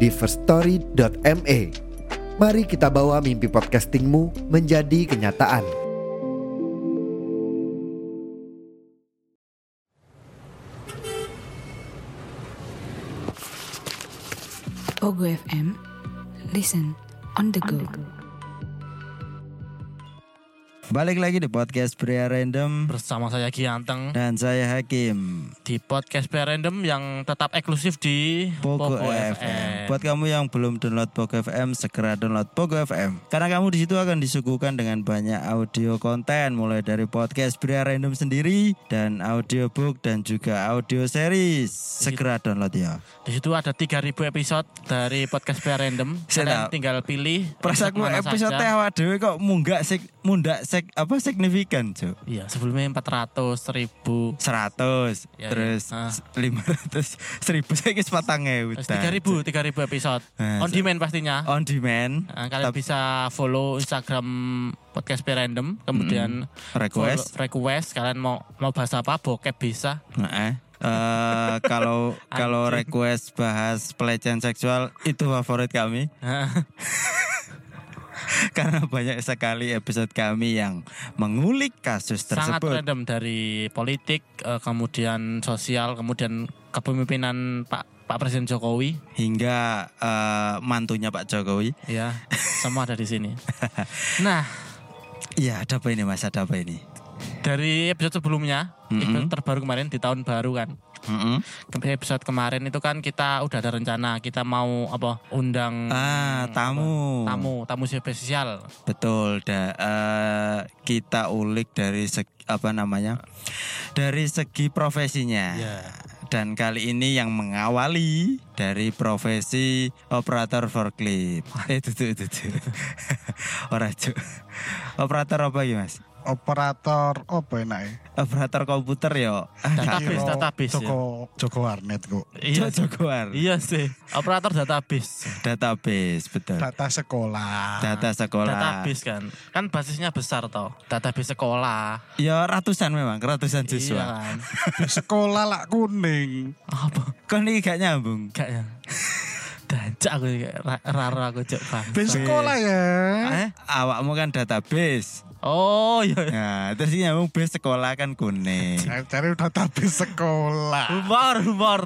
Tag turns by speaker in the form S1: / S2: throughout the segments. S1: di firststory.me. Mari kita bawa mimpi podcastingmu menjadi kenyataan.
S2: Ogo FM. Listen on the go.
S3: Balik lagi di podcast Pria Random
S4: bersama saya Gianteng
S3: dan saya Hakim
S4: di podcast Pria Random yang tetap eksklusif di
S3: Pogo, FM. Buat kamu yang belum download Pogo FM, segera download Pogo FM. Karena kamu di situ akan disuguhkan dengan banyak audio konten mulai dari podcast Pria Random sendiri dan audiobook dan juga audio series. Segera download ya.
S4: Di situ ada 3000 episode dari podcast Pria Random.
S3: Saya
S4: Kalian
S3: tahu.
S4: tinggal pilih
S3: Perasaanku
S4: episode mana
S3: episode
S4: saja.
S3: awak dhewe kok munggak sik mundak sik apa signifikan, Cuk.
S4: Iya, sebelumnya 400 ribu.
S3: 100
S4: Ya,
S3: terus
S4: ya. Ah.
S3: 500 1000 saiki 4000.
S4: 3000, 3000 episode.
S3: Nah,
S4: On
S3: se-
S4: demand pastinya.
S3: on demand.
S4: Nah, kalian
S3: Tapi-
S4: bisa follow Instagram podcast Pria Random, kemudian
S3: Hmm. request.
S4: follow- request kalian mau mau bahas apa bokep bisa.
S3: Nah, eh. Eh, kalau kalau request bahas pelecehan seksual itu favorit kami karena banyak sekali episode kami yang mengulik kasus
S4: sangat
S3: tersebut.
S4: random dari politik eh, kemudian sosial kemudian kepemimpinan Pak Pak Presiden Jokowi
S3: hingga eh, mantunya Pak Jokowi.
S4: ya semua ada di sini. Nah,
S3: Iya, ada apa ini Mas? Ada apa ini?
S4: dari episode sebelumnya, episode terbaru kemarin di tahun baru kan.
S3: Mm-mm.
S4: Ke- Episode kemarin itu kan kita udah ada rencana kita mau apa undang
S3: Ah, tamu.
S4: tamu, tamu spesial.
S3: Betul, da, eh, kita ulik dari seg- apa namanya? Dari segi profesinya.
S4: Ya.
S3: Dan kali ini yang mengawali dari profesi operator forklift. Eh, itu tuh, itu tuh. Ora, Cuk. Operator apa iki, Mas?
S5: operator apa enak ya?
S3: Operator komputer yo.
S4: Database,
S5: Kira
S4: database ya.
S5: Joko Joko Warnet kok.
S4: Iya, sih.
S3: Jaguar.
S4: iya sih. Operator database.
S3: Database, betul.
S5: Data sekolah.
S3: Data sekolah.
S4: Database kan. Kan basisnya besar toh. Database sekolah.
S3: Ya ratusan memang, ratusan siswa.
S4: Iya kan.
S5: sekolah lak kuning.
S4: Apa?
S3: Kok ini gak nyambung?
S4: Gak ya. Dajak aku iki, ra- raro aku cok bang.
S5: Ben sekolah ya.
S3: Eh, awakmu kan database.
S4: Oh iya. iya.
S3: Nah, terus ini nyambung base sekolah kan kuning.
S5: Cari, cari database sekolah.
S4: Humor, humor.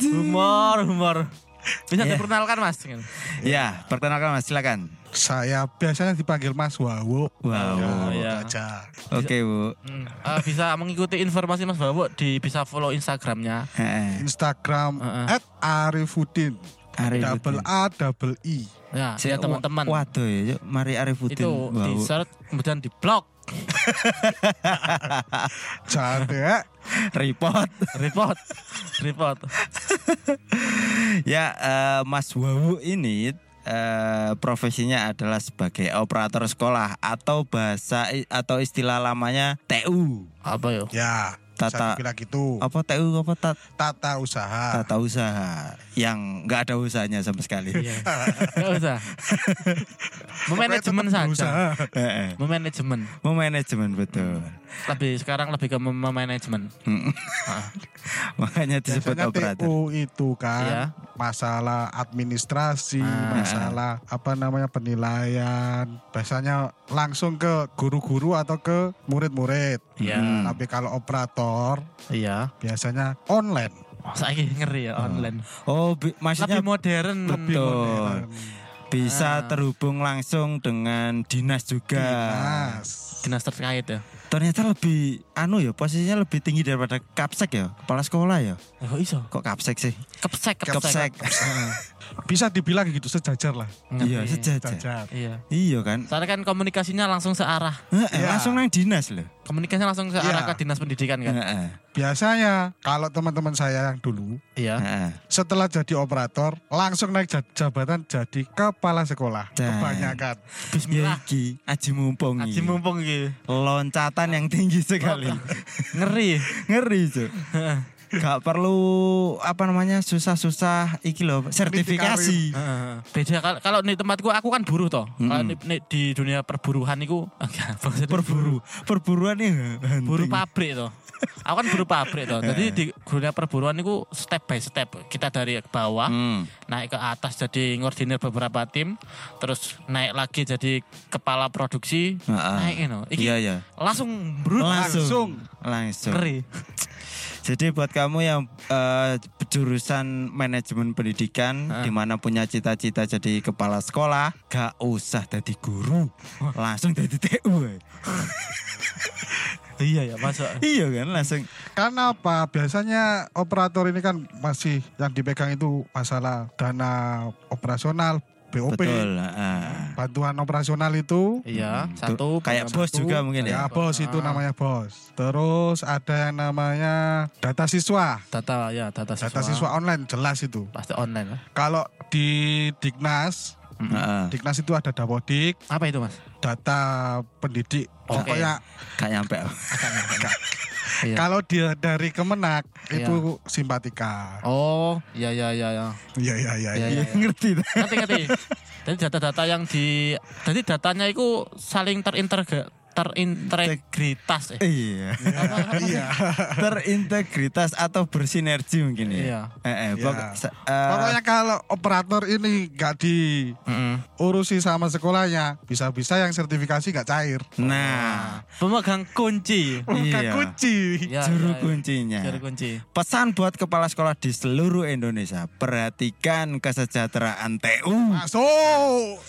S4: humor, humor. Bisa
S3: Iya.
S4: diperkenalkan Mas. Kan?
S3: ya, perkenalkan Mas, silakan.
S5: Saya biasanya dipanggil Mas Wawo.
S3: Wow.
S5: Ya,
S4: Oh, iya.
S5: aja.
S3: Oke, Bu.
S4: Hmm, eh, bisa mengikuti informasi Mas Bawo di bisa follow Instagramnya.
S3: Heeh.
S5: Instagram
S4: Heeh.
S5: at Arifudin.
S3: Arifudin.
S5: Double A double I.
S4: Ya,
S3: Saya-
S4: ya teman-teman.
S3: Waduh ya, yuk, mari Arifudin.
S4: Itu
S3: Wow.
S4: di search kemudian di blog
S5: Jangan ya.
S3: report.
S4: report report
S3: ya, eh, Mas Wawu ini eh, profesinya adalah sebagai operator sekolah atau bahasa i- atau istilah lamanya TU.
S4: apa yo
S5: Ya.
S3: Tata-
S5: Saya kira gitu.
S3: Apa TU apa ta-
S5: Tata usaha.
S3: tata usaha yang nggak ada usahanya sama sekali.
S5: Ya.
S4: Iya. Nggak usah memanajemen
S5: Pokoknya tetap
S4: saja
S5: berusaha.
S3: Heeh.
S4: memanajemen
S3: Memanajemen betul.
S4: lebih sekarang lebih ke mem- manajemen
S3: Makanya disebut
S5: Biasanya
S3: operator.
S5: TU itu kan
S4: Iya.
S5: masalah administrasi, masalah apa namanya penilaian. Biasanya langsung ke guru-guru atau ke murid-murid. Hmm.
S4: Iya.
S5: Tapi kalau operator
S4: iya
S5: biasanya online.
S4: saya ngeri ya online
S3: Oh, bi- maksudnya
S4: lebih modern
S3: betul. Bisa terhubung langsung dengan dinas juga.
S5: Iya. Mas.
S4: dinas terkait ya
S3: Ternyata lebih anu ya posisinya lebih tinggi daripada kapsek ya, kepala sekolah ya.
S4: Eh, kok iso?
S3: Kok kapsek sih?
S4: Kepsek,
S3: Kapsek.
S4: kepsek.
S5: Bisa dibilang gitu sejajar lah.
S3: Iya,
S4: Ngerti.
S3: sejajar.
S5: Sejajar.
S4: Iya.
S3: Iya kan?
S4: Soalnya kan komunikasinya langsung searah.
S3: Heeh,
S5: Iya.
S3: Langsung nang dinas loh.
S4: Komunikasinya langsung searah
S5: Iya.
S4: ke dinas pendidikan kan?
S3: Heeh.
S5: Biasanya kalau teman-teman saya yang dulu
S4: Iya.
S3: Heeh.
S5: setelah jadi operator langsung naik ja- jabatan jadi kepala sekolah.
S3: Dan-
S5: Kebanyakan.
S3: Ya
S4: Bismillah.
S3: iki aji mumpung.
S4: Aji
S3: iki.
S4: mumpung gitu.
S3: Loncatan yang tinggi sekali.
S4: Ngeri.
S3: Ngeri Cuk. Gak perlu apa namanya susah-susah iki loh sertifikasi.
S4: Heeh. Beda kal- kalau di tempatku aku kan buruh toh. Kalau
S3: Mm-mm.
S4: di, di- di dunia perburuhan itu enggak. maksudnya
S3: Perburu, perburuan ya.
S4: buruh pabrik toh. Aku kan buruh pabrik toh. Jadi di dunia perburuan itu step by step. Kita dari bawah
S3: Hmm.
S4: naik ke atas jadi ngordinir beberapa tim, terus naik lagi jadi kepala produksi,
S3: Heeh.
S4: naik you know. Iki
S3: Iya ya.
S4: langsung brut
S5: Langsung.
S3: Langsung.
S4: ngeri.
S3: Jadi buat kamu yang eh, jurusan manajemen pendidikan
S4: Heeh.
S3: di mana punya cita-cita jadi kepala sekolah, gak usah jadi guru. Langsung jadi TU. eh.
S4: iya ya masuk.
S3: iya kan langsung.
S5: Karena apa? Biasanya operator ini kan masih yang dipegang itu masalah dana operasional, BOP,
S3: Betul. heeh.
S5: bantuan operasional itu.
S4: Iya,
S3: Tuh,
S4: satu
S3: kayak
S4: program
S3: bos
S4: satu.
S3: juga mungkin ya.
S5: Ya bos itu namanya bos. Terus ada yang namanya data siswa.
S4: Data ya, data siswa.
S5: Data siswa online jelas itu.
S4: pasti online ya. lah.
S5: Kalau di Dignas,
S3: Heeh.
S5: Dignas itu ada Dapodik,
S4: Apa itu, Mas?
S5: data pendidik. Nah,
S4: Oke.
S5: Pokoknya
S3: Gak nyampe.
S4: Iya.
S5: kalau dia dari Kemenak
S4: Iya.
S5: itu simpatika.
S4: Oh, iya iya iya iya.
S5: Iya iya iya.
S4: Iya,
S5: iya.
S4: iya, iya.
S3: Ngerti. tak?
S4: Ngerti ngerti. Jadi data-data yang di jadi datanya itu saling terinterga terintegritas eh.
S3: Iya.
S4: Apa- apa sih?
S5: Iya.
S3: Terintegritas atau bersinergi mungkin ya.
S4: Iya.
S3: Eh, eh,
S5: Iya.
S3: pokok- se- eh,
S5: Pokoknya kalau operator ini gak
S4: Mm-mm.
S5: diurusi sama sekolahnya, bisa-bisa yang sertifikasi gak cair.
S3: Nah,
S4: Pemegang kunci.
S5: Buka
S3: Iya.
S5: kunci.
S4: Iya,
S3: juru
S4: iya, iya.
S3: kuncinya.
S4: Juru kunci.
S3: Pesan buat kepala sekolah di seluruh Indonesia, perhatikan kesejahteraan TU.
S5: Masuk.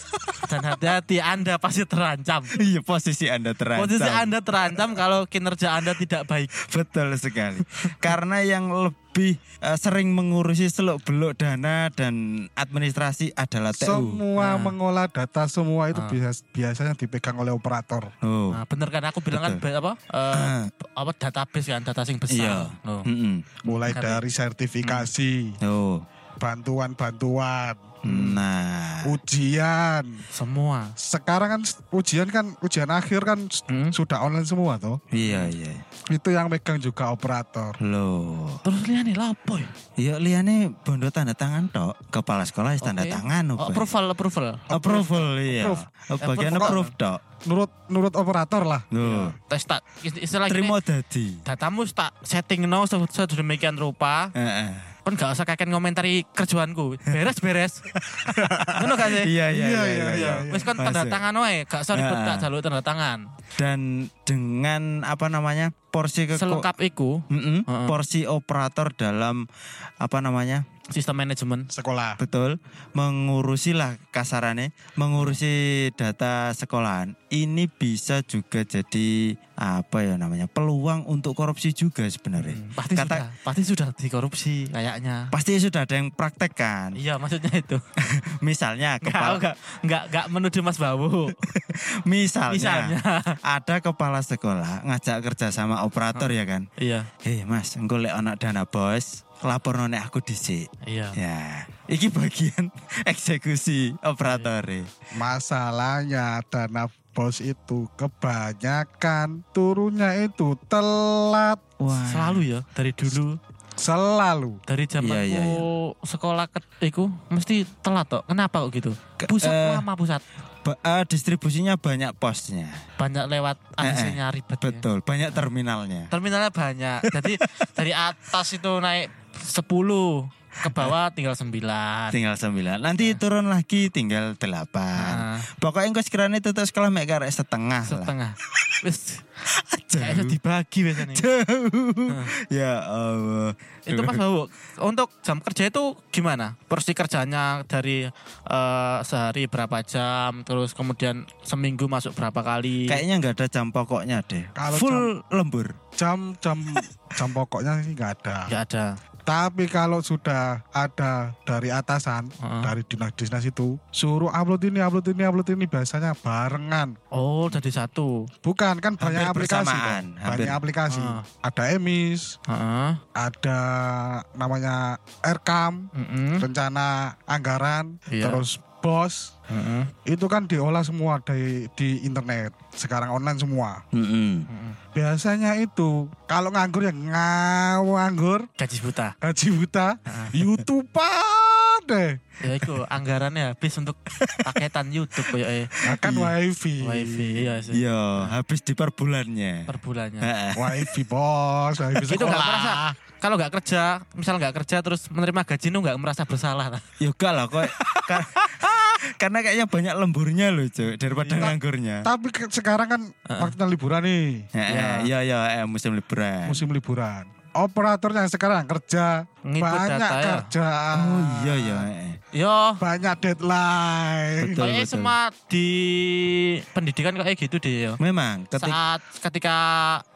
S4: Dan hati-hati Anda pasti terancam.
S3: Iya, posisi Anda terancam.
S4: Posisi Anda terancam kalau kinerja Anda tidak baik.
S3: Betul sekali. Karena yang lebih eh, sering mengurusi seluk-beluk dana dan administrasi adalah TU.
S5: Semua
S4: Nah.
S5: mengolah data semua itu
S4: Ah.
S5: bias- biasanya dipegang oleh operator.
S3: Oh.
S4: Nah, bener kan aku bilang kan
S3: Betul. Ah.
S4: ba- apa? eh, apa database kan data sing besar.
S3: Iya.
S4: Loh.
S3: Mm-mm.
S5: Mulai
S4: Ngerti.
S5: dari sertifikasi,
S3: Oh.
S4: Hmm.
S5: bantuan-bantuan,
S3: Nah.
S5: ujian.
S4: Semua.
S5: Sekarang kan s- ujian kan ujian akhir kan s-
S4: Hmm.
S5: sudah online semua toh.
S3: Iya, iya.
S5: Itu yang megang juga operator.
S3: Loh.
S4: Terus liane lapo ya?
S3: Ya liane bondo tanda tangan tok. Kepala sekolah wis tanda
S4: Oke.
S3: tangan ya?
S4: Oh,
S3: apa?
S4: approval approval.
S3: approval Iya. iya.
S5: Approve.
S3: Bagian
S4: Approve.
S3: approve tok.
S5: Nurut nurut operator lah.
S3: Loh.
S4: Tes tak Eh, istilah gini,
S3: Terima dadi.
S4: datamu tak setting no sedemikian rupa
S3: Heeh.
S4: kan gak usah kakek komentari kerjaanku beres beres ngono gak sih
S3: Iya iya
S5: Iya,
S3: iya.
S5: iya,
S3: iya.
S5: iya.
S4: wis kan tanda
S3: Masuk.
S4: tangan wae gak usah ribet
S3: Nah.
S4: tak jaluk tanda tangan
S3: Dan dengan apa namanya? porsi ke
S4: selengkap iku
S3: Mm-mm,
S4: Heeh.
S3: porsi operator dalam apa namanya?
S4: sistem manajemen
S5: Sekolah.
S3: Betul, mengurusi lah kasarannya, mengurusi data sekolahan. Ini bisa juga jadi apa ya namanya? peluang untuk korupsi juga sebenarnya.
S4: Hmm. pasti sudah pasti sudah dikorupsi kayaknya
S3: pasti sudah ada yang praktek kan
S4: iya maksudnya itu
S3: misalnya
S4: Enggak,
S3: kepala
S4: enggak, enggak, enggak menuju Mas Bawu.
S3: misalnya,
S4: Misalnya.
S3: ada kepala sekolah ngajak kerja sama operator ya kan
S4: iya,
S3: hei mas engko lek ana dana bos lapor none aku dhisik
S4: iya.
S3: ya iki bagian eksekusi operator
S5: Masalahnya dana bos itu kebanyakan turunnya itu telat
S3: wah
S4: Selalu ya, dari dulu,
S5: selalu.
S4: dari zaman
S3: Iya, iya, iya.
S4: sekolah ke iku mesti telat kok. Kenapa kok gitu?
S3: Ke-
S4: Pusat
S3: eh,
S4: lama pusat.
S3: ba- eh, distribusinya banyak posnya
S4: Banyak lewat aksinya ribet. ya.
S3: Eh, betul banyak terminalnya
S4: Terminalnya banyak. Jadi dari atas itu naik 10 ke bawah tinggal 9.
S3: tinggal sembilan nanti turun lagi tinggal delapan
S4: Nah,
S3: pokoknya engko sekiranya tutup sekolah mek karek setengah lah
S4: setengah. Wis Kayaknya dibagi biasanya.
S3: ya Allah.
S4: itu Mas Bawo, untuk jam kerja itu gimana? Persi kerjanya dari eh, sehari berapa jam, terus kemudian seminggu masuk berapa kali?
S3: Kayaknya nggak ada jam pokoknya deh.
S5: Kalau
S3: Full lembur.
S5: Jam jam jam pokoknya sih nggak ada.
S3: Ya.
S4: Nggak ada.
S5: Tapi kalau sudah ada dari atasan,
S4: Heeh.
S5: dari dinas-dinas itu, suruh upload ini, upload ini, upload ini biasanya barengan.
S4: Oh, jadi satu.
S5: Bukan kan banyak
S3: Hampir
S5: aplikasi,
S3: bersamaan,
S5: Pak.
S3: hampir.
S5: banyak aplikasi.
S4: Heeh.
S5: Ada Emis,
S4: Heeh.
S5: ada namanya Erkam,
S4: Mm-mm.
S3: Hmm?
S5: rencana anggaran,
S4: Iya.
S5: terus Bos.
S4: Mm-mm.
S5: Itu kan diolah semua di di internet. Sekarang online semua.
S3: Mm-mm.
S5: Biasanya itu kalau nganggur ya nganggur,
S4: Gaji buta.
S5: gaji buta, YouTuber deh.
S4: Ya itu anggarannya habis untuk paketan YouTube kayak eh.
S5: Nah, kan wifi.
S4: wifi iya sih.
S3: Iya, Nah, habis di per bulannya.
S4: Per bulannya.
S3: Heeh.
S5: Wifi bos, wifi
S4: Itu nggak merasa
S5: sekolah.
S4: kalau nggak kerja, misal nggak kerja terus menerima gaji itu nggak merasa bersalah. nah.
S3: Yoga lah kok. Kar- Karena kayaknya banyak lemburnya loh, Cuk, daripada
S5: Iya.
S3: nganggurnya.
S5: Tapi ke- sekarang kan waktunya liburan nih,
S3: Heeh, Iya, iya, eh, musim liburan.
S5: musim liburan. Operatornya sekarang kerja,
S4: Ngikut
S5: banyak
S4: data ya?
S5: kerjaan,
S3: Oh iya ya. eh.
S4: Yo,
S5: banyak deadline.
S3: Betul,
S4: Kayaknya
S3: betul.
S4: semua di pendidikan kayak gitu deh ya.
S3: Memang ketika
S4: Saat ketika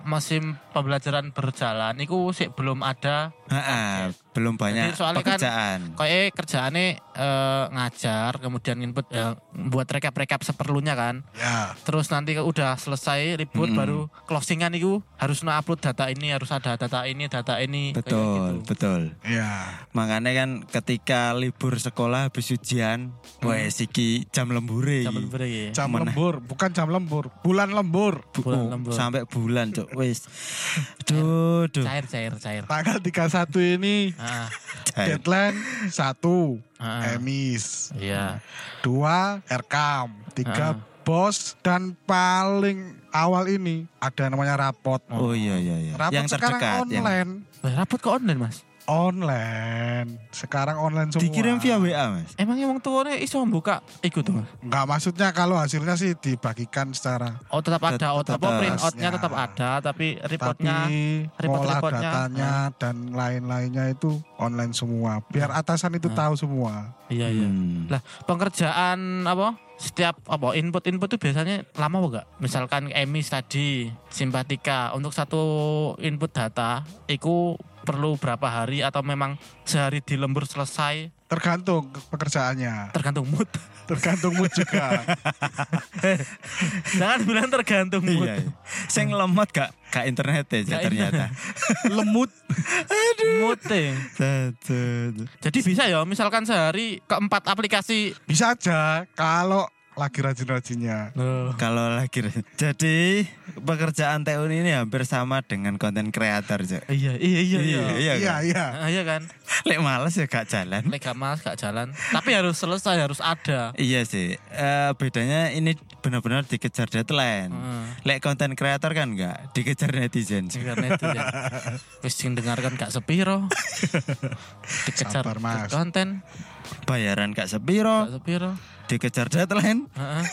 S4: musim pembelajaran berjalan, itu sih belum ada.
S3: Heeh, belum banyak
S4: Jadi soalnya kan-
S3: pekerjaan.
S4: Kayak kerjaannya eh, ngajar, kemudian input eh, buat rekap-rekap seperlunya kan.
S5: Ya,
S4: Terus nanti udah selesai libur
S3: Mm-mm.
S4: baru closingan itu harus upload data ini, harus ada data ini, data ini. kayak
S3: betul,
S4: gitu.
S3: betul.
S5: ya.
S3: Makanya kan ketika libur sekolah habis ujian,
S4: Hmm.
S3: wes iki jam lembure.
S4: Zaman
S3: iki.
S4: beri.
S5: Jam
S3: Mana?
S5: lembur, bukan jam lembur, bulan lembur.
S3: Bu-
S4: Bulan
S3: oh,
S4: lembur.
S3: sampai bulan, Cuk. Wis. Duh, duh.
S4: Cair, cair, cair.
S5: Tanggal 31 ini
S4: Ah,
S3: Cair.
S5: deadline satu
S4: Ah.
S5: emis,
S4: iya.
S5: dua erkam, tiga
S4: Ah.
S5: bos dan paling awal ini ada namanya rapot.
S3: Oh iya iya iya.
S5: Rapot
S3: yang
S5: sekarang
S3: terdekat yang
S5: online.
S4: Wah, rapot ke online mas?
S5: Online. Sekarang online semua.
S3: dikirim via WA, Mas.
S4: Emang emang tuanya iso buka ikut tuh mas?
S5: Enggak maksudnya kalau hasilnya sih dibagikan secara
S4: Oh tetap ada, oh,
S3: Tetap
S4: tetap
S3: ada.
S4: print outnya tetap ada, tapi reportnya
S5: tapi
S4: report-
S5: olah
S4: reportnya.
S5: datanya
S3: Ah.
S5: dan lain-lainnya itu online semua. Biar atasan itu
S3: Ah.
S5: tahu semua.
S4: iya iya.
S3: Hmm.
S4: Lah pengerjaan apa? Setiap apa input input tuh biasanya lama apa enggak? Misalkan emis tadi, simpatika untuk satu input data, itu perlu berapa hari atau memang sehari di lembur selesai
S5: Tergantung pekerjaannya,
S4: tergantung mood.
S5: tergantung mood juga.
S4: Jangan bilang tergantung mood.
S3: Iya. iya. Sing lemot gak gak internet ya
S4: Gak
S3: ternyata.
S5: Lemut
S4: Mood eh.
S3: Duh, duh, duh.
S4: Jadi bisa ya misalkan sehari keempat aplikasi.
S5: bisa aja kalau lagi rajin-rajinnya.
S3: Kalau lagi jadi pekerjaan TU ini hampir sama dengan konten kreator, Cuk.
S4: Iya iya iya iya.
S3: iya.
S5: Iya,
S3: kan?
S5: iya.
S4: Ah, iya kan?
S3: Lek males ya gak jalan.
S4: Lega mas gak jalan. Tapi harus selesai, harus ada.
S3: Iya sih, Eh bedanya ini benar-benar dikejar deadline.
S4: Heeh.
S3: Lek konten kreator kan enggak, dikejar netizen.
S4: Karena itu ya. Wis sing dengarkan gak sepiro. Dikejar
S5: Sabar, Mas.
S4: konten
S3: Bayaran gak
S4: gak
S3: sepiro,
S4: sepiro.
S3: dikejar deadline.
S4: Heeh.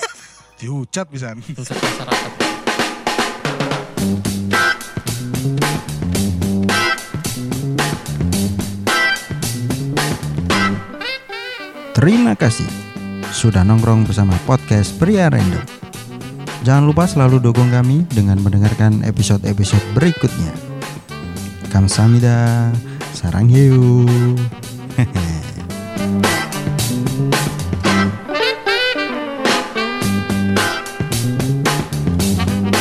S5: Dihujat bisa.
S4: Itu syarat.
S6: Terima kasih sudah nongkrong bersama podcast Pria Random. Jangan lupa selalu dukung kami dengan mendengarkan episode-episode berikutnya. Kamsahamnida, sarang hiu. Hehehe.